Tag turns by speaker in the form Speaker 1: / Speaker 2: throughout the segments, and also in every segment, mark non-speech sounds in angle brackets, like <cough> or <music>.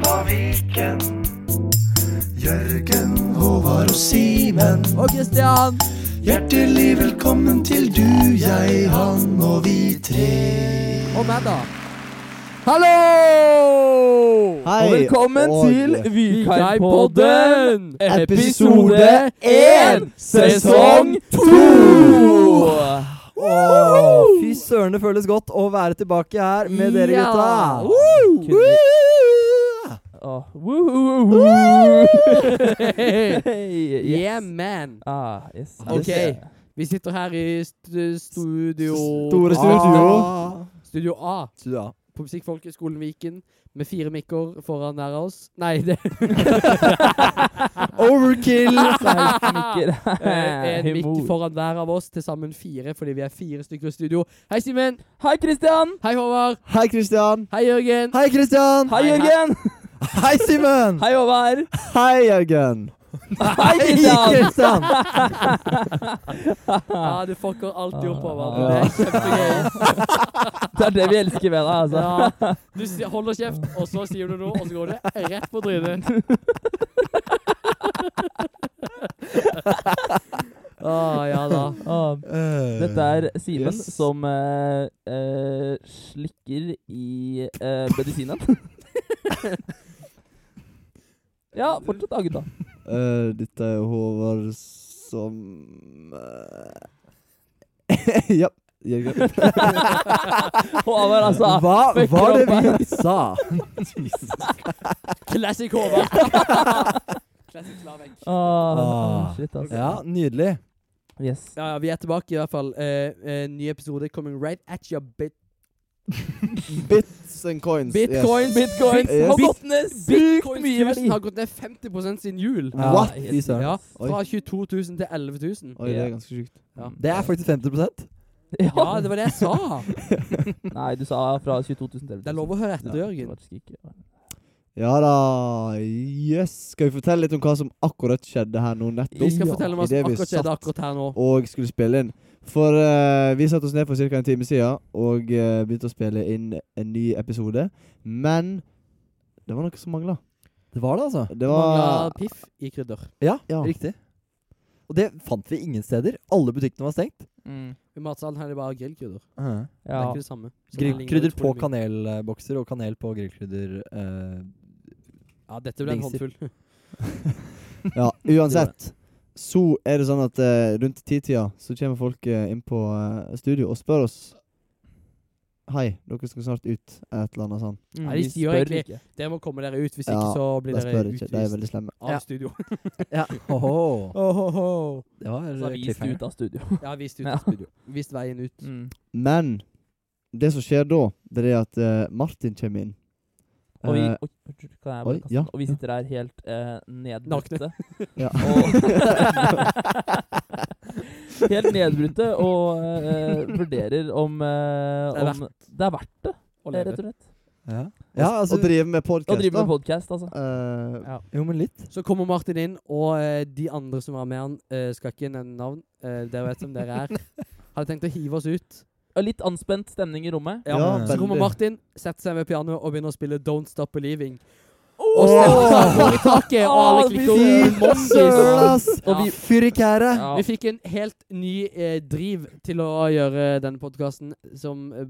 Speaker 1: Viken. Jørgen, Håvard og Simen.
Speaker 2: Og Kristian!
Speaker 1: Hjertelig velkommen til du, jeg, han og vi tre.
Speaker 2: Og meg, da. Hallo!
Speaker 3: Hei,
Speaker 2: og velkommen
Speaker 3: og-
Speaker 2: til Vikaipodden! Episode én, sesong to!
Speaker 3: to! Åh,
Speaker 2: Woohoo!
Speaker 3: fy søren, det føles godt å være tilbake her med dere
Speaker 2: Ja.
Speaker 3: gutta.
Speaker 2: Woo!
Speaker 4: Kunne- Åh, woo, woo, woo.
Speaker 2: Hey.
Speaker 4: Hey, yes.
Speaker 2: Yeah, man.
Speaker 4: Ah, yes.
Speaker 2: Ok,
Speaker 4: Yes.
Speaker 3: Ah.
Speaker 2: vi sitter her i st studio
Speaker 3: Store studio.
Speaker 2: Studio A
Speaker 3: Ja.
Speaker 2: på Musikkfolkeskolen Viken med fire mikker foran der av oss. Nei, det
Speaker 3: Overkill!
Speaker 4: Mikker.
Speaker 3: <laughs>
Speaker 2: Eh, En mikk
Speaker 4: Humor.
Speaker 2: foran hver av oss, til sammen fire, fordi vi er fire stykker i studio. Hei, Simen.
Speaker 4: Hei, Kristian!
Speaker 2: Hei, Håvard.
Speaker 3: Hei, Kristian.
Speaker 2: Hei, Jørgen.
Speaker 3: Hei, Kristian.
Speaker 4: Hei,
Speaker 2: Hei, hei.
Speaker 4: Jørgen!
Speaker 3: Hei, Simen.
Speaker 4: Hei, Håvard!
Speaker 3: Hei, Jørgen.
Speaker 4: Hei, Kristian!
Speaker 3: Kristian.
Speaker 2: Ja, du fucker alltid opp, Håvard. Det
Speaker 4: Ja.
Speaker 2: er kjempegøy.
Speaker 4: Det er det vi elsker ved deg, altså.
Speaker 2: Ja. Du si- holder kjeft, og så sier du noe, og så går det rett på trynet. Å, ja da.
Speaker 4: Åh, Eh, Dette er Simen
Speaker 3: Yes.
Speaker 4: som eh, eh, slikker i eh,
Speaker 3: <laughs>
Speaker 4: medisinen. ja, fortsett da, gutta.
Speaker 3: Eh, Dette er Håvard som eh, <laughs> Ja,
Speaker 4: <laughs>
Speaker 3: Jørgen.
Speaker 4: Håvard, altså.
Speaker 3: Hva var det
Speaker 4: opp.
Speaker 3: vi sa? <laughs>
Speaker 2: Classic Håvard. Classic Slavek.
Speaker 4: Åh,
Speaker 3: Ah.
Speaker 4: shit, altså.
Speaker 3: Ja, nydelig.
Speaker 4: Yes.
Speaker 2: Ja, ja, vi er tilbake i hvert fall. Eh, eh, ny episode coming right at your bit
Speaker 3: Bits and coins.
Speaker 2: Bitcoins.
Speaker 4: Bitcoins
Speaker 3: Yes.
Speaker 4: har gått ned sykt mye
Speaker 2: Bitcoins
Speaker 4: verdi.
Speaker 2: har gått ned 50 siden jul.
Speaker 4: Ja,
Speaker 3: What?
Speaker 4: helt
Speaker 3: Fy søren.
Speaker 2: Ja,
Speaker 3: Oi.
Speaker 2: fra 22 000 til 11 000.
Speaker 3: Oi, det er ganske sjukt.
Speaker 2: Ja.
Speaker 3: Det er faktisk 50
Speaker 2: Ja, det var det jeg sa.
Speaker 4: Nei, du sa fra 22 000 til 11 000.
Speaker 2: Det er lov å høre etter,
Speaker 4: Ja, det
Speaker 2: Jørgen.
Speaker 4: var faktisk ikke-
Speaker 3: Ja da. Yes. Skal vi fortelle litt om hva som akkurat skjedde her nå nettopp?
Speaker 2: Vi skal
Speaker 4: Ja,
Speaker 2: fortelle om hva
Speaker 3: i det
Speaker 2: som
Speaker 3: vi
Speaker 2: akkurat skjedde
Speaker 3: satt.
Speaker 2: akkurat her nå.
Speaker 3: Og skulle spille inn. For eh, vi satte oss ned for ca. en time siden og eh, begynte å spille inn en ny episode. Men det var noe som mangla.
Speaker 5: Det var det, altså.
Speaker 3: Det
Speaker 2: Mangla
Speaker 3: var
Speaker 2: piff i krydder.
Speaker 5: Ja,
Speaker 3: Ja.
Speaker 5: riktig. Og det fant vi ingen steder. Alle butikkene var stengt.
Speaker 2: I matsalen her er det bare grillkrydder. Det er
Speaker 4: Ja.
Speaker 2: ikke det samme. Så det ligner
Speaker 5: Grillkrydder på
Speaker 2: utrolig mye.
Speaker 5: kanelbokser og kanel på grillkrydder. eh,
Speaker 2: Ja, dette ble en
Speaker 5: Dingser.
Speaker 2: håndfull. <laughs>
Speaker 3: Ja, uansett. Så er det sånn at eh, rundt titida så kommer folk eh, inn på eh, studio og spør oss Hei, dere skal snart ut. Et eller annet sånn.
Speaker 2: Nei, de
Speaker 4: Mm. Vi
Speaker 2: sier jo
Speaker 4: spør
Speaker 2: egentlig
Speaker 4: ikke.
Speaker 2: Dere må komme dere ut, hvis
Speaker 3: Ja,
Speaker 2: ikke så blir
Speaker 3: De
Speaker 2: dere
Speaker 3: spør ikke. De er
Speaker 2: utvist
Speaker 3: veldig slemme.
Speaker 2: av
Speaker 5: Ja.
Speaker 3: <laughs>
Speaker 2: studio.
Speaker 5: ja. <laughs>
Speaker 2: Oh,
Speaker 5: Oho.
Speaker 2: oh, oh.
Speaker 5: Det var
Speaker 4: Så er vi vist
Speaker 5: cliffhanger.
Speaker 4: ut av studio.
Speaker 2: Ja, vist ut
Speaker 4: Ja.
Speaker 2: av <laughs> studio. Vist veien ut.
Speaker 3: Mm.
Speaker 4: Mm.
Speaker 3: Men det som skjer da, det er at eh, Martin kommer inn.
Speaker 4: Og, vi,
Speaker 3: Eh,
Speaker 4: oi, unnskyld, kan
Speaker 3: oi,
Speaker 4: jeg bare kaste?
Speaker 3: ja.
Speaker 4: og vi sitter her helt uh, nedbrutte.
Speaker 3: Ja.
Speaker 4: <laughs> Og helt nedbrutte og eh, vurderer om, eh,
Speaker 2: Det er
Speaker 4: om Det er verdt det,
Speaker 2: Og
Speaker 4: rett
Speaker 2: leve.
Speaker 4: og slett.
Speaker 5: Ja.
Speaker 3: ja,
Speaker 5: ja,
Speaker 3: altså,
Speaker 5: altså
Speaker 3: og driver med
Speaker 4: Å
Speaker 3: podkast,
Speaker 4: drive
Speaker 3: da.
Speaker 4: med podkast, altså.
Speaker 3: Eh,
Speaker 5: Jo, men litt.
Speaker 2: Så kommer Martin inn, og eh, de andre som var med han, eh, skal ikke nevne navn. Eh, dere vet hvem
Speaker 3: <laughs>
Speaker 2: dere er. Hadde tenkt å hive oss ut.
Speaker 4: Og litt anspent stemning i rommet.
Speaker 2: Ja,
Speaker 3: Ja,
Speaker 2: Så kommer
Speaker 3: veldig.
Speaker 2: Martin, setter seg ved pianoet og begynner å spille Don't Stop Believing.
Speaker 4: Og
Speaker 2: Og <laughs> stemmer går i taket, og alle
Speaker 4: Åh,
Speaker 2: klikker
Speaker 4: fy
Speaker 2: over.
Speaker 3: søren,
Speaker 2: Mondis.
Speaker 3: ass!
Speaker 2: Ja.
Speaker 3: Og vi Fyrikære!
Speaker 4: Ja.
Speaker 2: Vi fikk en helt ny eh, driv til å gjøre denne podkasten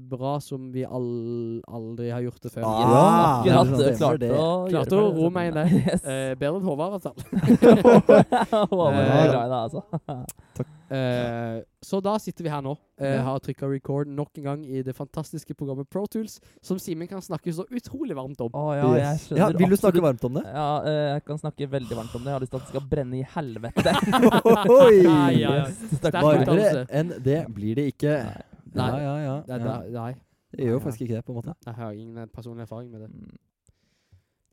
Speaker 2: bra som vi all, aldri har gjort det før.
Speaker 3: Ah.
Speaker 4: Yes,
Speaker 3: Ja,
Speaker 4: akkurat,
Speaker 3: det er sant,
Speaker 4: klarte
Speaker 5: det.
Speaker 4: å,
Speaker 2: Klarte
Speaker 4: gjøre
Speaker 2: å
Speaker 4: sånn det.
Speaker 2: ro meg inn der.
Speaker 4: Yes. <laughs>
Speaker 2: Eh, bedre enn Håvard, altså. <laughs>
Speaker 4: Håvard
Speaker 2: Eh,
Speaker 4: er glad i deg, altså.
Speaker 2: Eh, så da sitter vi her nå. Eh,
Speaker 4: Ja.
Speaker 2: Har trykka record nok en gang i det fantastiske programmet Pro Tools, som Simen kan snakke så utrolig varmt om.
Speaker 4: Å ja, jeg
Speaker 3: Yes.
Speaker 4: skjønner
Speaker 5: Ja, vil du snakke
Speaker 4: absolutt-
Speaker 5: varmt om det?
Speaker 4: Ja, eh, jeg kan snakke veldig varmt om det. Jeg har lyst til at det skal brenne i <laughs> helvete.
Speaker 2: <laughs> Ja, ja, ja.
Speaker 4: Yes, takk.
Speaker 2: Sterk
Speaker 4: Bare-
Speaker 5: Varmere
Speaker 2: utdannelse.
Speaker 5: enn det blir det ikke.
Speaker 2: Nei.
Speaker 5: Ja, ja, ja.
Speaker 2: Nei,
Speaker 5: ja.
Speaker 2: da- nei,
Speaker 5: Det gjør jo faktisk ikke det, på en måte.
Speaker 2: jeg har ingen personlig erfaring med det. Men,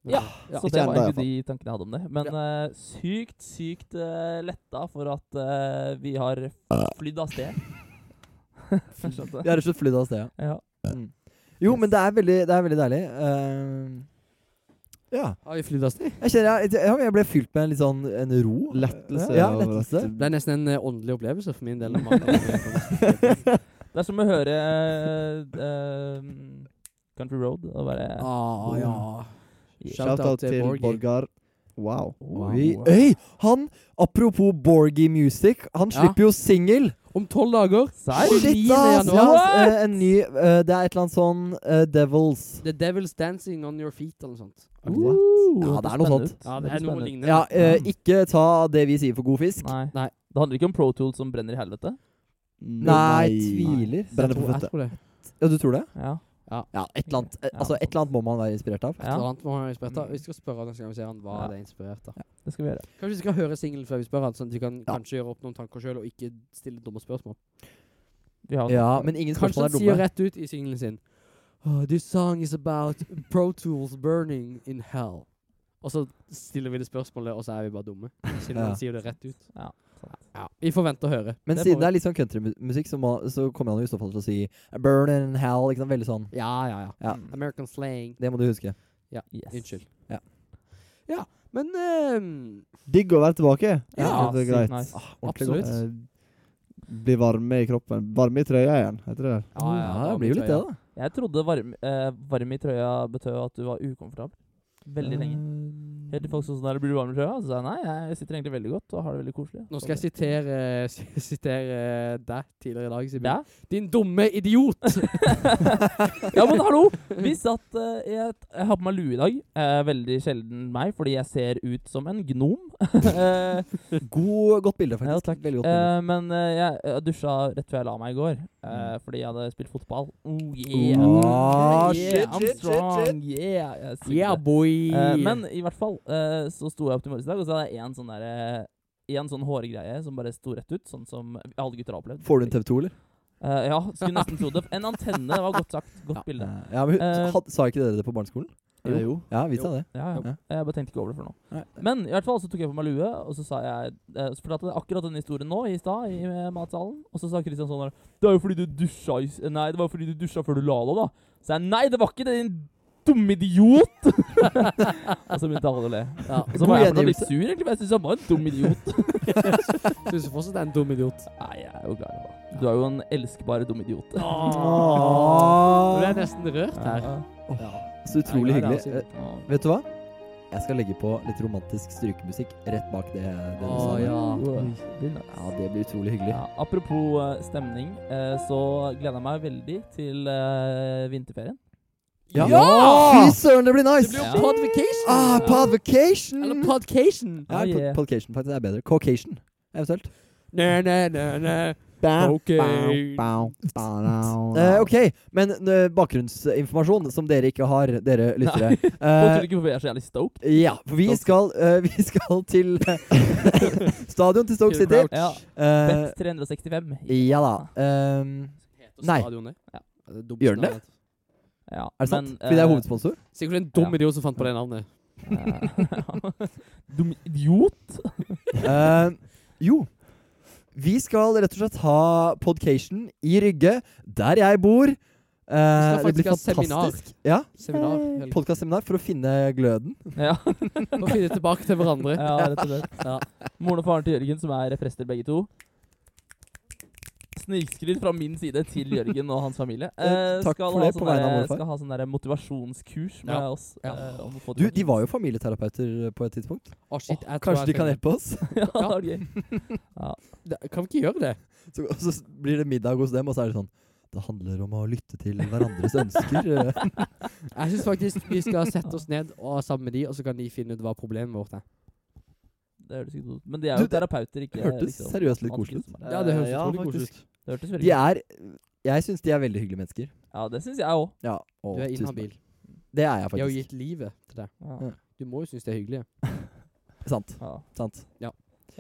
Speaker 4: Ja,
Speaker 2: ja.
Speaker 4: så
Speaker 3: Ikke
Speaker 4: det var
Speaker 3: enda,
Speaker 4: egentlig de tankene jeg hadde om det. Men eh, sykt, sykt eh, letta for at eh, vi har flydd av sted. Skjønte
Speaker 5: Vi har rett og slett flydd av sted. ja.
Speaker 4: Ja.
Speaker 5: Jo, men det er veldig, det er veldig deilig. Eh, ja.
Speaker 2: Har vi flydd av sted?
Speaker 5: Jeg kjenner jeg, ja, men jeg ble fylt med en litt sånn en ro.
Speaker 3: Lettelse.
Speaker 5: Ja,
Speaker 3: over at
Speaker 5: lettelse.
Speaker 2: Det er nesten en eh, åndelig opplevelse for min del. når man-
Speaker 4: Det er som å høre eh, eh, Country Road og bare
Speaker 2: ah, ja. Shout-out
Speaker 3: Shout-out til
Speaker 2: Borgi.
Speaker 3: Borgar. Wow.
Speaker 4: Wow.
Speaker 5: Oi, øy, han, apropos Borgie Music, han
Speaker 2: Ja.
Speaker 5: slipper jo singel!
Speaker 2: Om tolv dager.
Speaker 4: Serr?
Speaker 2: Shit, niende
Speaker 5: Shit, ass!
Speaker 2: januar.
Speaker 5: Ja, ass, eh, en ny eh, Det er et eller annet sånn eh, Devils.
Speaker 2: The Devil's Dancing On Your Feet, eller noe sånt.
Speaker 5: Ja, det er noe sånt.
Speaker 2: Ja, det er noe lignende.
Speaker 5: Ja, eh, ikke ta det vi sier for god fisk.
Speaker 4: Nei.
Speaker 2: Nei.
Speaker 4: Det handler ikke om Pro Tools som brenner i helvete?
Speaker 5: Nei, tviler.
Speaker 3: Brenner på
Speaker 2: Jeg
Speaker 3: føttene.
Speaker 2: tror det.
Speaker 5: Ja, du tror det?
Speaker 4: Ja.
Speaker 5: Ja, et eller annet, eh,
Speaker 4: Ja.
Speaker 5: altså, et eller annet må man være inspirert av.
Speaker 2: Et eller
Speaker 4: ja.
Speaker 2: annet må han være inspirert av.
Speaker 4: Mm.
Speaker 2: Vi skal spørre han neste gang vi ser han hva
Speaker 4: Ja.
Speaker 2: det er inspirert av.
Speaker 4: Det skal vi gjøre.
Speaker 2: Kanskje vi skal høre singelen før vi spør han, sånn at vi kan
Speaker 5: Ja.
Speaker 2: kanskje gjøre opp noen tanker sjøl, og ikke stille dumme spørsmål.
Speaker 4: Vi har
Speaker 5: Ja, men ingen
Speaker 2: Kanskje
Speaker 5: spørsmål
Speaker 2: han
Speaker 5: er
Speaker 2: sier
Speaker 5: dumme.
Speaker 2: rett ut i singelen sin oh, This song is about Pro Tools burning in hell. Og så stiller vi det spørsmålet, og så er vi bare dumme. Siden
Speaker 5: Ja.
Speaker 2: han sier det rett ut.
Speaker 4: Ja, sånn sant.
Speaker 2: Ja. Vi får vente og høre.
Speaker 4: Det
Speaker 5: Men
Speaker 4: får
Speaker 5: siden
Speaker 4: vi.
Speaker 5: det er litt sånn countrymusikk, så, må- så kommer han jo i så fall til å si Burn in hell. Ikke sant? Veldig sånn.
Speaker 2: Ja, ja, ja.
Speaker 5: Ja.
Speaker 4: Mm.
Speaker 2: American slang.
Speaker 5: Det må du huske.
Speaker 4: Yes.
Speaker 2: Unnskyld.
Speaker 5: Ja.
Speaker 2: Ja, men ehm,
Speaker 3: Digg å være tilbake.
Speaker 2: Ja,
Speaker 3: Jeg synes det er greit.
Speaker 4: sykt nice.
Speaker 5: ordentlig
Speaker 2: Absolutt.
Speaker 5: godt.
Speaker 3: Eh, Bli varme i kroppen. Varme i trøya igjen, heter det.
Speaker 2: ja, Ah, ja,
Speaker 5: Ja,
Speaker 2: da
Speaker 5: det blir jo
Speaker 2: vi
Speaker 5: litt det,
Speaker 2: tøyer.
Speaker 5: da.
Speaker 4: Jeg trodde varm, eh, varm i trøya betød at du var ukomfortabl. Veldig
Speaker 5: Mm.
Speaker 4: lenge.
Speaker 5: Eh,
Speaker 4: Helt til folk sa sånn der, blir du varm i trøya? Så sa jeg nei, jeg sitter egentlig veldig godt og har det veldig koselig.
Speaker 2: Nå skal jeg sitere, <laughs> sitere eh, deg tidligere i dag, Simen.
Speaker 4: Ja.
Speaker 2: Din dumme
Speaker 5: <laughs>
Speaker 2: idiot!
Speaker 4: <laughs> ja, men hallo! Vi satt eh, i et, Jeg har på meg lue i dag. Eh, veldig sjelden meg, fordi jeg ser ut som en gnom. Eh,
Speaker 5: God, godt bilde, faktisk.
Speaker 4: Ja, takk.
Speaker 5: Veldig godt bilde.
Speaker 4: eh, men eh, jeg, jeg dusja rett før jeg la meg i går, eh, fordi jeg hadde spilt fotball. Oh yeah!
Speaker 5: Mm.
Speaker 4: yeah,
Speaker 5: Ah, shit,
Speaker 4: I'm
Speaker 5: shit, shit,
Speaker 4: strong! Yeah! Jeg er
Speaker 2: Yeah, boy!
Speaker 4: Eh, men i hvert fall eh, så sto jeg opp til morges i dag, og så hadde jeg en sånn der, eh, en sånn hårgreie som bare sto rett ut, sånn som alle gutter har opplevd.
Speaker 5: Får du en TV2, eller?
Speaker 4: Eh, ja, skulle nesten tro det. En antenne, det var godt sagt. Godt
Speaker 2: Ja.
Speaker 4: bilde.
Speaker 5: Ja, men,
Speaker 4: Eh,
Speaker 5: had, sa ikke dere det på barneskolen?
Speaker 3: Jo.
Speaker 5: Ja, vi sa det.
Speaker 4: Ja, ja.
Speaker 5: Ja.
Speaker 4: Jeg bare tenkte ikke over det før nå.
Speaker 5: Nei.
Speaker 4: Men i hvert fall så tok jeg på meg lue, og så sa jeg eh, Så fortalte jeg akkurat denne historien nå i stad, i eh, matsalen. Og så sa Kristian sånn der Det er jo fordi du dusja i s- eh, Nei, det var fordi du dusja før du la deg, da. Så jeg nei, det var ikke det, din dumme idiot! <laughs> og så begynte alle å le.
Speaker 2: Ja,
Speaker 4: Så var jeg
Speaker 5: God
Speaker 4: fortsatt litt sur, egentlig, men jeg syns han var en dum idiot.
Speaker 2: Syns du fortsatt er en dum idiot?
Speaker 4: Nei, jeg er jo glad i deg. Du er jo en elskbar dum idiot.
Speaker 5: Ah.
Speaker 2: Du er nesten rørt her.
Speaker 4: Ja.
Speaker 5: Så utrolig
Speaker 2: Ja, ja,
Speaker 5: hyggelig.
Speaker 2: ja,
Speaker 5: Eh, Vet du hva? Jeg skal legge på litt romantisk strykemusikk rett bak det. det du
Speaker 2: Å,
Speaker 5: sa der.
Speaker 2: ja.
Speaker 5: ja, det blir utrolig hyggelig.
Speaker 4: Ja, apropos eh, stemning, eh, så gleder jeg meg veldig til eh, vinterferien.
Speaker 2: Ja!
Speaker 5: Fy søren, det blir nice!
Speaker 2: Det blir jo
Speaker 4: Ja.
Speaker 2: podvacation!
Speaker 5: Ah, podvacation!
Speaker 2: <laughs> Eller podcation!
Speaker 5: ja, pod
Speaker 4: Yeah.
Speaker 5: podcation faktisk er bedre. Caucation, eventuelt.
Speaker 2: Næ, næ, næ, næ. Ok.
Speaker 5: Eh, ok, men eh, bakgrunnsinformasjon som dere ikke har, dere lyttere.
Speaker 4: Folk
Speaker 5: Eh,
Speaker 4: tror ikke hvorfor jeg er så jævlig stoked.
Speaker 5: ja, for vi skal, eh, <laughs> vi skal til eh, stadion til Stoke
Speaker 2: Til
Speaker 5: City.
Speaker 2: Crouch.
Speaker 4: Ja,
Speaker 5: Eh,
Speaker 4: Bet 365.
Speaker 5: ja da. ehm,
Speaker 2: Heter
Speaker 5: Nei.
Speaker 2: stadionet. Ja. det er dumt
Speaker 5: Gjør den det?
Speaker 2: navn.
Speaker 4: Ja,
Speaker 5: er det sant?
Speaker 4: men,
Speaker 5: Fordi det er
Speaker 4: eh,
Speaker 5: hovedsponsor?
Speaker 2: Sikkert en dum
Speaker 4: Ja.
Speaker 2: idiot som fant på det
Speaker 5: Eh,
Speaker 2: navnet.
Speaker 4: <laughs> eh, Dum
Speaker 5: <laughs>
Speaker 4: idiot?
Speaker 5: Eh, jo. Vi skal rett og slett ha podcation i Rygge, der jeg bor. Eh,
Speaker 2: skal
Speaker 5: det blir
Speaker 2: faktisk ha seminar.
Speaker 5: fantastisk. Ja, <laughs>
Speaker 2: Seminar. Helg.
Speaker 5: Podkastseminar for å finne gløden.
Speaker 4: Ja,
Speaker 2: Nå finner vi tilbake til hverandre.
Speaker 4: ja, rett og slett.
Speaker 2: Ja.
Speaker 4: Moren og faren til Jørgen, som er prester begge to. Snikskryt fra min side til Jørgen og hans
Speaker 5: <laughs>
Speaker 4: familie. Eh,
Speaker 5: Takk
Speaker 4: skal
Speaker 5: for
Speaker 4: ha
Speaker 5: det på
Speaker 4: sånn
Speaker 5: vegne av
Speaker 4: derre-
Speaker 5: mor og far.
Speaker 4: Skal ha sånn der motivasjonskurs med
Speaker 2: Ja.
Speaker 4: oss.
Speaker 2: Ja.
Speaker 4: eh, om å få
Speaker 5: Du,
Speaker 4: tilbake-
Speaker 5: de var jo familieterapeuter på et tidspunkt.
Speaker 2: Å, shit, jeg tror
Speaker 5: Kanskje de
Speaker 2: jeg
Speaker 5: kan
Speaker 2: trenger-
Speaker 5: hjelpe oss?
Speaker 4: <laughs> Ja, det var gøy.
Speaker 2: Da- Kan vi ikke gjøre det?
Speaker 5: Så, og så blir det middag hos dem, og så er det sånn Det handler om å lytte til hverandres
Speaker 2: <laughs>
Speaker 5: ønsker.
Speaker 2: Jeg syns faktisk vi skal sette oss ned og sammen med de, og så kan de finne ut hva problemet vårt er.
Speaker 4: Det høres ikke ut. Men de er jo
Speaker 5: Du, det
Speaker 4: terapeuter, ikke liksom,
Speaker 5: Det hørtes
Speaker 2: liksom
Speaker 5: seriøst litt koselig ut.
Speaker 4: ut.
Speaker 2: Ja, det høres
Speaker 5: Eh, ja,
Speaker 2: utrolig koselig
Speaker 5: faktisk.
Speaker 2: ut.
Speaker 4: Det hørtes veldig
Speaker 5: De er Jeg syns de er veldig hyggelige mennesker.
Speaker 4: Ja, det syns jeg òg.
Speaker 5: Ja, å,
Speaker 2: Du er
Speaker 5: tusen takk.
Speaker 2: inhabil.
Speaker 5: Det er
Speaker 2: De har
Speaker 5: jeg
Speaker 2: jo
Speaker 5: faktisk.
Speaker 2: gitt livet til deg.
Speaker 4: Ja.
Speaker 5: Ja.
Speaker 2: Du må jo synes det er hyggelig.
Speaker 5: Sant.
Speaker 4: Ja.
Speaker 5: sant
Speaker 4: Jeg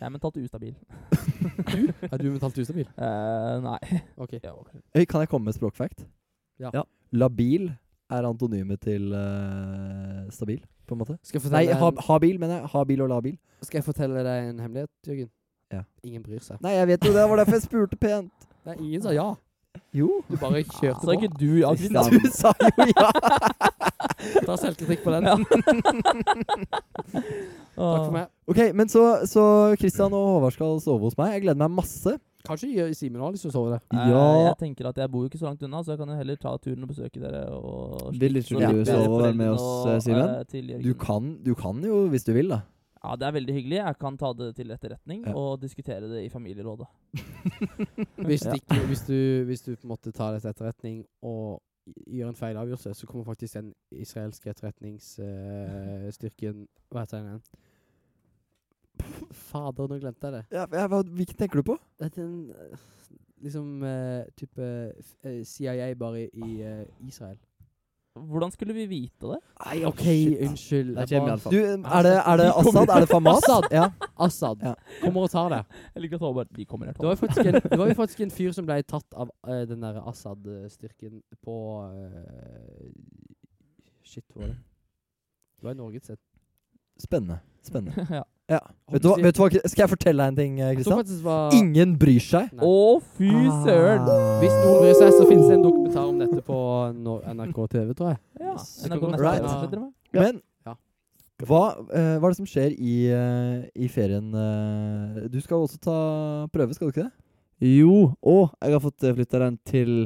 Speaker 4: er mentalt ustabil.
Speaker 2: Er du mentalt ustabil?
Speaker 4: Eh, nei.
Speaker 2: Ok.
Speaker 4: Ja, ok.
Speaker 5: Øy, kan jeg komme med språkfact?
Speaker 2: Ja.
Speaker 5: Labil er antonymet til eh, stabil, på en måte.
Speaker 2: Skal jeg
Speaker 5: Nei,
Speaker 2: fortelle,
Speaker 5: ha, habil, mener jeg. Habil og labil.
Speaker 2: skal jeg fortelle deg en hemmelighet, Jørgen?
Speaker 5: Ja.
Speaker 2: Ingen bryr seg.
Speaker 5: Nei, jeg vet jo det. Det var derfor jeg spurte pent.
Speaker 2: Nei, ingen sa ja.
Speaker 5: Jo.
Speaker 2: Du bare kjørte
Speaker 4: Så er
Speaker 2: på.
Speaker 4: ikke du ja, Kristian.
Speaker 5: Du sa jo ja!
Speaker 2: Ta selvkritikk på den. <laughs>
Speaker 4: Ja.
Speaker 2: Takk for meg.
Speaker 5: Ok, men så, så Christian og Håvard skal sove hos meg. Jeg gleder meg masse.
Speaker 2: Kanskje jeg- Simen har sånn lyst til å sove der.
Speaker 4: Eh,
Speaker 3: Ja.
Speaker 4: Jeg tenker at jeg bor jo ikke så langt unna, så jeg kan jo heller ta turen og besøke dere. Og
Speaker 3: Vil ikke
Speaker 4: Så
Speaker 3: du
Speaker 4: lykke til
Speaker 3: sove
Speaker 4: foreldrene
Speaker 3: med oss,
Speaker 4: og,
Speaker 3: eh, Simen?
Speaker 4: eh, til Jørgen.
Speaker 5: Du kan, du kan jo, hvis du vil, da.
Speaker 4: Ja, det er veldig hyggelig. Jeg kan ta det til etterretning
Speaker 5: Ja.
Speaker 4: og diskutere det i familierådet.
Speaker 2: Hvis, ikke, hvis, du, hvis du på en måte tar det til etterretning og gjør en feil avgjørelse, så kommer faktisk den israelske etterretningsstyrken Hva heter den igjen? Fader, nå glemte jeg det.
Speaker 5: Ja, ja, hva, hvilken tenker du på?
Speaker 2: Det er en eh, liksom eh, type f- eh, CIA bare i eh, Israel.
Speaker 4: Hvordan skulle vi vite det?
Speaker 2: Nei, OK, unnskyld.
Speaker 3: Der
Speaker 2: jeg
Speaker 3: kommer i
Speaker 2: bare-
Speaker 3: alle fall.
Speaker 5: Du, er det, er det
Speaker 2: Vi kommer-
Speaker 5: Assad? Er det Famas? Ja.
Speaker 2: Assad
Speaker 5: Ja.
Speaker 2: kommer og tar det.
Speaker 4: Jeg liker at Håvard De kommer her.
Speaker 2: Det var, jo faktisk en, det var jo faktisk en fyr som ble tatt av eh, den der Assad-styrken på eh, Shit, hvor var det? Det var i Norge et sted.
Speaker 5: Spennende. Spennende.
Speaker 4: Tom. <laughs> ja.
Speaker 5: Vet du, hva, vet du hva, Kri- skal jeg fortelle deg en ting, eh,
Speaker 2: Jeg tror
Speaker 5: Kristian?
Speaker 2: faktisk det var
Speaker 5: Ingen bryr seg.
Speaker 2: Nei.
Speaker 4: Å, fy søren!
Speaker 3: Ah.
Speaker 2: Hvis noen bryr seg, så finnes det en dokumentar om dette på Nor- NRK TV, tror jeg.
Speaker 4: Ja,
Speaker 2: Så
Speaker 4: NRK
Speaker 2: kommer-
Speaker 4: Nett
Speaker 5: Right.
Speaker 4: fortsetter med.
Speaker 5: Men
Speaker 2: Ja.
Speaker 5: hva, eh, hva er det som skjer i, eh, i ferien? eh? du skal også ta prøve, skal du ikke det?
Speaker 3: Jo, og jeg har fått flytta den til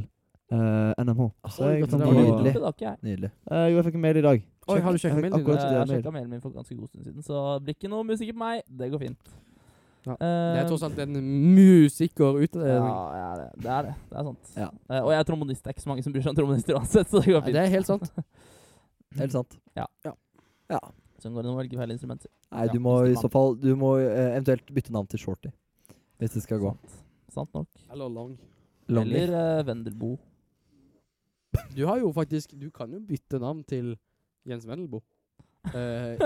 Speaker 3: eh, NMH. Så
Speaker 2: Oi,
Speaker 3: jeg, kan
Speaker 2: gratulerer.
Speaker 3: få-
Speaker 5: Nydelig.
Speaker 4: Det har ikke jeg.
Speaker 5: Nydelig.
Speaker 3: Eh, jo, jeg fikk en mail i dag.
Speaker 2: Oi, har du sjekket
Speaker 3: Jeg fikk
Speaker 2: mailen din?
Speaker 3: akkurat
Speaker 4: Eh,
Speaker 3: sjekket
Speaker 4: Jeg
Speaker 3: mail.
Speaker 4: sjekka mailen min for ganske god stund siden, så blir ikke noe musiker på meg. Det går fint.
Speaker 2: Ja,
Speaker 4: Eh,
Speaker 2: Det er tross alt en musiker ute.
Speaker 4: ja, ja, det, det er det. Det er sant.
Speaker 5: Ja.
Speaker 4: Eh, og jeg er trommonist. Det er ikke så mange som bryr seg om trommonister uansett, så det går fint.
Speaker 2: det er helt sant.
Speaker 5: Helt sant.
Speaker 4: Sånn går det når man velger feil instrumenter.
Speaker 5: Nei,
Speaker 4: Ja,
Speaker 5: du må i
Speaker 4: hvis det
Speaker 5: så fall Du må eh, eventuelt bytte navn til Shorty. Hvis det skal gå.
Speaker 4: Sant, sant nok.
Speaker 2: Eller lang.
Speaker 5: Lonely.
Speaker 4: Eller eh, Vendelbo. <laughs>
Speaker 2: Du har jo faktisk Du kan jo bytte navn til Jens Vendelbo. Eh,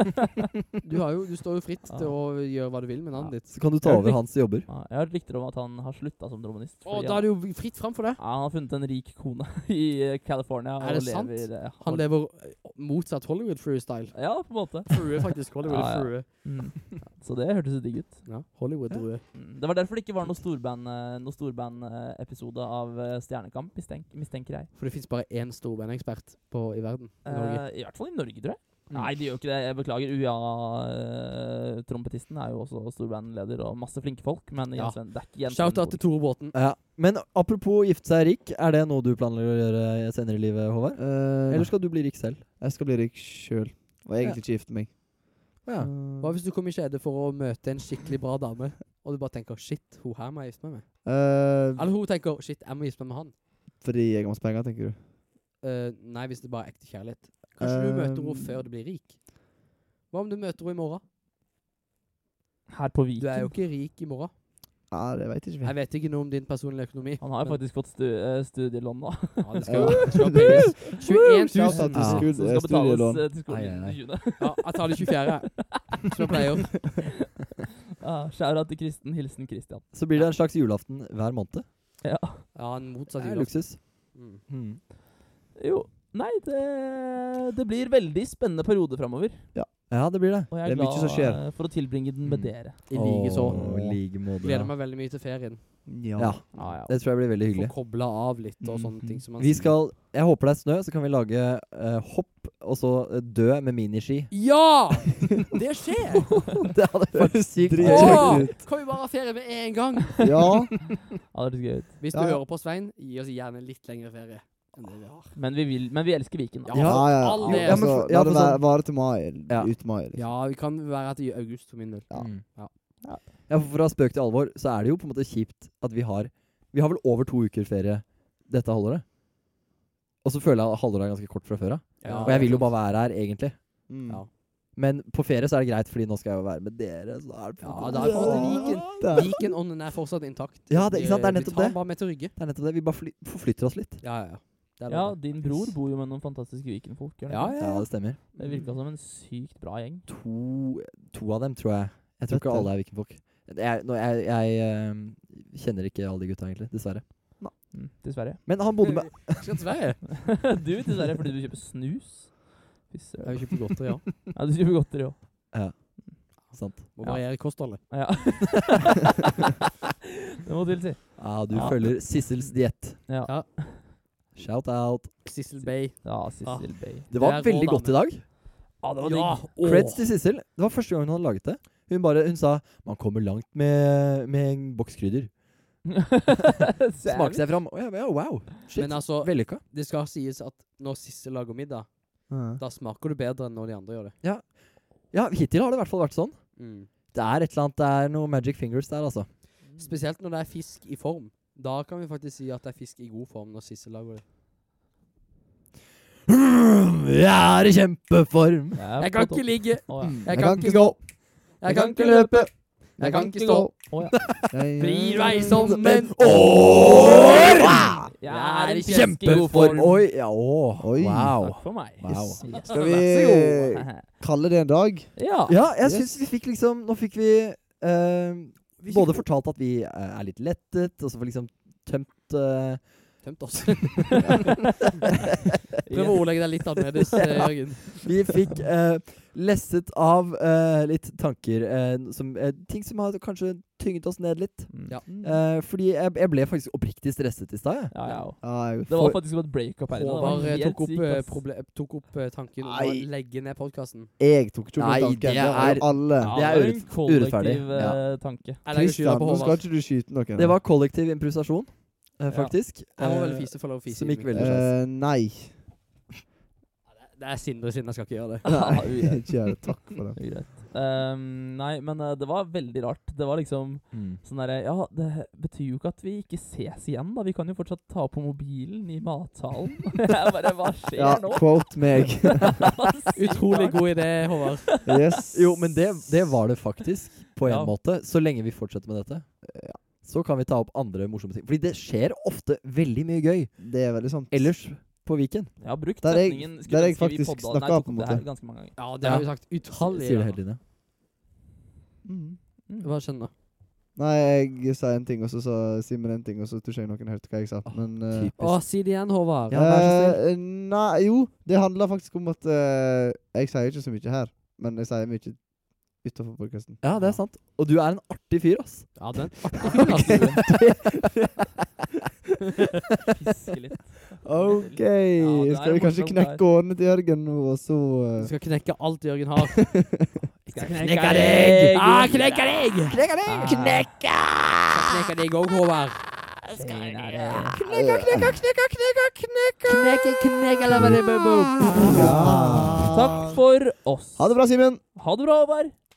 Speaker 2: du, har jo, du står jo fritt til å gjøre hva du vil med navnet ditt.
Speaker 5: Så kan du ta
Speaker 4: Jeg
Speaker 5: over
Speaker 4: fikk-
Speaker 5: hans jobber.
Speaker 4: Ja, jeg har et rykter om at han har slutta som trommonist.
Speaker 2: Å,
Speaker 4: fordi
Speaker 2: da
Speaker 4: han-
Speaker 2: er det jo fritt fram for det.
Speaker 4: ja, han har funnet en rik kone <laughs> i eh, California.
Speaker 2: Er det
Speaker 4: og
Speaker 2: sant?
Speaker 4: Lever, eh,
Speaker 2: Han lever eh, motsatt Hollywood-frue-style.
Speaker 4: Ja, på en måte.
Speaker 2: Frue, faktisk. Hollywood-frue.
Speaker 4: Mm. <laughs> Så det hørtes jo digg ut.
Speaker 2: Ja, Hollywood-frue.
Speaker 4: Mm. Det var derfor det ikke var noe storband eh, noe storbandepisode av eh, Stjernekamp, mistenk, mistenker jeg.
Speaker 2: For det fins bare én storbandekspert på- i verden. I Norge.
Speaker 4: Eh, I hvert fall i Norge, tror jeg.
Speaker 2: Mm.
Speaker 4: Nei, de gjør jo ikke det. Jeg beklager. UiA-trompetisten er jo også storbandleder og masse flinke folk, men
Speaker 2: Ja.
Speaker 4: Jens Ven- det er ikke Jens
Speaker 2: Shout-out til
Speaker 4: Vendelbo.
Speaker 2: Tore Båten.
Speaker 5: Ja. Men apropos gifte seg rik, er det noe du planlegger å gjøre senere i livet, Håvard?
Speaker 3: Eh,
Speaker 5: Eller skal du bli rik selv?
Speaker 3: Jeg skal bli rik sjøl. Og egentlig ikke gifte meg. Eh,
Speaker 5: Ja.
Speaker 2: Hva hvis du kom i skjede for å møte en skikkelig bra dame, og du bare tenker 'shit, hun her må jeg gifte meg med'?
Speaker 3: Eh,
Speaker 2: Eller hun tenker 'shit, jeg må gifte meg med han'.
Speaker 3: fordi jeg har masse penger, tenker du.
Speaker 2: Eh, nei, hvis det bare er ekte kjærlighet. Kanskje du møter henne
Speaker 3: Um,
Speaker 2: før du blir rik? Hva om du møter henne i morgen?
Speaker 4: Her på
Speaker 2: Du er jo
Speaker 4: Viken.
Speaker 2: ikke rik i morgen.
Speaker 3: Ja, det veit ikke vi.
Speaker 2: Jeg vet ikke noe om din personlige økonomi.
Speaker 4: Han har jo
Speaker 2: men-
Speaker 4: faktisk fått stu eh, studielån nå.
Speaker 2: ja, det skal, det skal penges. 21
Speaker 3: Tusen
Speaker 2: 000.
Speaker 3: til
Speaker 4: <laughs>
Speaker 5: Ja.
Speaker 3: skudd,
Speaker 4: Som
Speaker 3: eh,
Speaker 4: skal betales
Speaker 3: studielån.
Speaker 4: eh, til skolen
Speaker 5: Ai, ai, ai.
Speaker 4: den 20.
Speaker 2: Ja, jeg tar det 24. Som jeg pleier.
Speaker 4: <laughs> Ja, Shout-out til Kristen. Hilsen Christian.
Speaker 5: Så blir det en slags julaften hver måned.
Speaker 4: Ja.
Speaker 2: Ja, en
Speaker 5: Det
Speaker 2: motsatt
Speaker 5: er
Speaker 2: julaften.
Speaker 5: luksus.
Speaker 2: Mm.
Speaker 4: Jo, nei, det, det blir veldig spennende periode framover.
Speaker 5: Ja, det blir det.
Speaker 4: Og jeg
Speaker 3: Det
Speaker 4: er,
Speaker 3: er mye
Speaker 4: glad
Speaker 3: som skjer.
Speaker 4: eh, for å tilbringe den med
Speaker 5: Mm.
Speaker 4: dere.
Speaker 2: I like så.
Speaker 5: Åh, i like måte,
Speaker 2: Gleder
Speaker 5: ja.
Speaker 2: meg veldig mye til ferien.
Speaker 5: Ja,
Speaker 4: Ja, ja.
Speaker 5: det tror jeg blir veldig
Speaker 2: Få
Speaker 5: hyggelig.
Speaker 2: kobla av litt og sånne
Speaker 3: Mhm.
Speaker 2: ting. Som man
Speaker 5: Vi
Speaker 2: sier.
Speaker 5: skal Jeg håper det er snø, så kan vi lage eh, hopp, og så eh, dø med miniski.
Speaker 2: Ja! Det skjer!
Speaker 5: <laughs> det hadde vært sykt
Speaker 3: Drit.
Speaker 5: gøy.
Speaker 2: Åh! Kan vi bare ha ferie med en gang?
Speaker 3: <laughs> Ja.
Speaker 4: Ja, det blir gøy. ut.
Speaker 2: Hvis du
Speaker 3: Ja, ja.
Speaker 2: hører på, Svein, gi oss gjerne litt lengre ferie enn det vi har.
Speaker 4: Men vi, vil, men vi elsker Viken. da.
Speaker 2: Ja,
Speaker 3: Ja, ja.
Speaker 2: all del.
Speaker 3: Altså,
Speaker 5: Ja, men for-
Speaker 3: la
Speaker 5: ja,
Speaker 3: det
Speaker 5: for
Speaker 3: være,
Speaker 5: sånn-
Speaker 3: vare til mai.
Speaker 5: Ja.
Speaker 3: Ut mai. Liksom.
Speaker 2: Ja, vi kan være at i august for min del.
Speaker 3: Ja.
Speaker 5: Mm.
Speaker 2: Ja.
Speaker 5: Ja. for Fra spøk til alvor, så er det jo på en måte kjipt at vi har Vi har vel over to uker ferie dette halvåret. Og så føler jeg at halvåret er ganske kort fra før av.
Speaker 2: Ja,
Speaker 5: og jeg vil jo bare være her, egentlig.
Speaker 3: Mm.
Speaker 2: Ja.
Speaker 5: Men på ferie så er det greit, fordi nå skal jeg jo være med dere. Så da er det på en
Speaker 2: Ja,
Speaker 5: måte-
Speaker 2: da er det på en måte
Speaker 5: Ja.
Speaker 2: Viken.
Speaker 3: Der.
Speaker 2: Vikenånden er fortsatt intakt.
Speaker 5: Ja, det- ikke sant, det er
Speaker 2: Vi-
Speaker 5: nettopp
Speaker 2: Vi tar
Speaker 5: det.
Speaker 2: den bare med til Rygge.
Speaker 5: Det er nettopp det. Vi bare fly forflytter oss litt.
Speaker 2: Ja, ja, ja. Det er
Speaker 4: Ja,
Speaker 2: lov,
Speaker 4: din bror bor jo med noen fantastiske Viken-folk. gjør han
Speaker 2: Ja,
Speaker 4: ikke?
Speaker 5: Ja, det stemmer.
Speaker 4: Det virka som en sykt bra gjeng.
Speaker 5: To, to av dem, tror jeg. Jeg tror
Speaker 3: Vet
Speaker 5: ikke
Speaker 3: du.
Speaker 5: alle er Viken-folk. Jeg, nå- jeg, jeg ehm, kjenner ikke alle de gutta, egentlig. Dessverre.
Speaker 4: Mm, til Sverige.
Speaker 5: Men han bodde med
Speaker 2: det. Skal til Sverige?
Speaker 4: <laughs> du til Sverige fordi du kjøper snus. Fy
Speaker 2: Jeg
Speaker 4: søren.
Speaker 2: vil kjøpe godteri, ja.
Speaker 4: Ja, du kjøper godteri òg.
Speaker 5: Sant.
Speaker 2: Må
Speaker 4: Ja.
Speaker 2: variere kostholdet.
Speaker 4: Ja. <laughs> det må til, si.
Speaker 5: Ja, du
Speaker 4: Ja.
Speaker 5: følger Sissels diett.
Speaker 4: Ja.
Speaker 2: Ja.
Speaker 5: Shout out.
Speaker 2: Sissel Bay.
Speaker 4: Ja, Sissel Bay.
Speaker 5: Det var
Speaker 2: Det er rå
Speaker 5: veldig godt i dag.
Speaker 4: Ja, det var
Speaker 2: Ja,
Speaker 4: digg.
Speaker 2: åh.
Speaker 5: Creds til Sissel. Det var første gangen hun hadde laget det. Hun bare, hun sa 'man kommer langt med, med en boks krydder'. Smake seg fram. Å ja, ja, wow. Shit.
Speaker 2: Men altså,
Speaker 5: Vellykka.
Speaker 2: det skal sies at når Sissel lager middag,
Speaker 3: Ja.
Speaker 2: da smaker du bedre enn når de andre gjør det.
Speaker 5: Ja, hittil har det i hvert fall vært sånn.
Speaker 2: Mm.
Speaker 5: Det er et eller annet, det er noe magic fingers der, altså.
Speaker 2: Spesielt når det er fisk i form. Da kan vi faktisk si at det er fisk i god form når Sissel lager det.
Speaker 5: Jeg er i kjempeform.
Speaker 2: Jeg kan ikke ligge,
Speaker 4: Å ja.
Speaker 2: jeg
Speaker 3: Mm.
Speaker 2: kan ikke gå, jeg kan ikke løpe, jeg kan ikke stå.
Speaker 4: Å ja.
Speaker 3: Jeg-
Speaker 2: Vrir meg som en
Speaker 5: År!
Speaker 4: Jeg er i kjempegod
Speaker 5: Kjempeform.
Speaker 4: form.
Speaker 5: Oi, ja, å.
Speaker 3: Oi.
Speaker 5: Wow.
Speaker 4: Takk for meg.
Speaker 5: Wow.
Speaker 4: Yes.
Speaker 3: Skal vi kalle det en dag?
Speaker 4: <laughs> Ja.
Speaker 5: Ja, jeg
Speaker 3: Yes.
Speaker 5: syns vi fikk liksom Nå fikk vi eh, både fortalt at vi eh, er litt lettet, og så får liksom tømt eh,
Speaker 2: Tømt <laughs> oss. Prøv å ordlegge deg litt annerledes, eh, Jørgen.
Speaker 5: Vi fikk eh, lesset av eh, litt tanker. eh, som, eh, ting som har kanskje tynget oss ned litt.
Speaker 4: Mm.
Speaker 2: Ja.
Speaker 5: Eh, fordi jeg, jeg ble faktisk oppriktig stresset i stad. jeg.
Speaker 4: Ja, ja.
Speaker 3: Ja, jeg,
Speaker 4: Det var faktisk som et breakup her. inne. Det var
Speaker 2: Håvard eh,
Speaker 4: helt
Speaker 2: tok opp,
Speaker 4: sykt,
Speaker 2: eh,
Speaker 4: ass.
Speaker 2: proble- tok opp eh, tanken om å
Speaker 3: Nei.
Speaker 2: legge ned podkasten.
Speaker 3: jeg tok ikke opp
Speaker 5: Nei,
Speaker 3: den tanken.
Speaker 5: det
Speaker 3: Det var
Speaker 5: er-
Speaker 3: jo alle.
Speaker 4: Ja,
Speaker 5: det er
Speaker 4: var en
Speaker 5: urett-
Speaker 4: kollektiv,
Speaker 5: urettferdig.
Speaker 4: eh, tanke.
Speaker 2: Jeg legger skylda
Speaker 3: Kristian,
Speaker 2: på
Speaker 3: nå skal
Speaker 2: Håvard.
Speaker 3: ikke du skyte noen.
Speaker 5: Det var kollektiv improvisasjon, eh,
Speaker 4: Ja.
Speaker 5: faktisk.
Speaker 2: Jeg må
Speaker 5: Eh,
Speaker 2: vel fise for lov å fise.
Speaker 5: som
Speaker 2: i
Speaker 5: gikk
Speaker 2: mikrofonen.
Speaker 5: veldig bra.
Speaker 3: Eh, Nei.
Speaker 2: Det er Sindre sin, jeg skal ikke gjøre det.
Speaker 4: Ja,
Speaker 3: <laughs> Nei,
Speaker 4: greit.
Speaker 3: ikke gjør det. Takk for det.
Speaker 4: greit. Ehm, nei, men eh, det var veldig rart. Det var liksom
Speaker 3: Mm.
Speaker 4: sånn derre Ja, det betyr jo ikke at vi ikke ses igjen, da. Vi kan jo fortsatt ta på mobilen i matsalen. <laughs> Jeg bare Hva skjer
Speaker 3: Ja,
Speaker 4: nå?
Speaker 3: quote
Speaker 5: <laughs>
Speaker 3: meg.
Speaker 2: Utrolig god idé, Håvard.
Speaker 3: Yes.
Speaker 5: Jo, men det, det var det faktisk, på en
Speaker 4: Ja.
Speaker 5: måte. Så lenge vi fortsetter med dette.
Speaker 3: Eh,
Speaker 5: Så kan vi ta opp andre morsomme ting. Fordi det skjer ofte veldig mye gøy
Speaker 3: Det er veldig sant.
Speaker 5: ellers på Viken.
Speaker 4: Jeg har brukt
Speaker 3: Der er jeg-
Speaker 4: setningen
Speaker 3: der er jeg
Speaker 4: skulle ønske vi
Speaker 3: faktisk
Speaker 4: podda- nei,
Speaker 3: snakket opp,
Speaker 4: tok
Speaker 3: på en
Speaker 4: det her
Speaker 3: måte.
Speaker 4: Ganske mange ganger.
Speaker 2: <laughs> Ja, det har vi sagt utallige
Speaker 5: Sier det
Speaker 2: ganger.
Speaker 5: hele tiden.
Speaker 4: Mm.
Speaker 2: Hva skjønner
Speaker 3: Nei, jeg sa en ting, og så sa Simen en ting, og så tror ikke jeg noen hørte hva jeg sa. Men eh,
Speaker 5: Typisk.
Speaker 2: Å, si det igjen, Håvard.
Speaker 5: Ja, vær
Speaker 3: <laughs>
Speaker 5: så
Speaker 3: eh, Nei, jo. Det handler faktisk om at eh, Jeg sier ikke så mye her, men jeg sier mye utafor podkasten.
Speaker 5: Ja, det er sant. Og du er en artig fyr, ass.
Speaker 2: <laughs> Ja, den artig fyr, altså.
Speaker 4: Fiske
Speaker 3: <laughs>
Speaker 4: litt.
Speaker 3: OK!
Speaker 4: det er
Speaker 3: Skal vi kanskje
Speaker 4: morsomt, det
Speaker 3: knekke årene til Jørgen nå, og så
Speaker 2: Du
Speaker 3: eh,
Speaker 2: skal knekke alt Jørgen har.
Speaker 4: Knekka deg!
Speaker 2: Ah, knekke deg!
Speaker 5: Knekka deg! Knekka!
Speaker 2: Knekke deg òg, Håvard.
Speaker 5: Knekka, knekka, knekka, knekka, knekka!
Speaker 2: Knekke, knekke, la meg det, bo, bo.
Speaker 3: ja.
Speaker 4: Takk for oss.
Speaker 3: Ha det bra, Simen!
Speaker 4: Ha det bra, Håvard.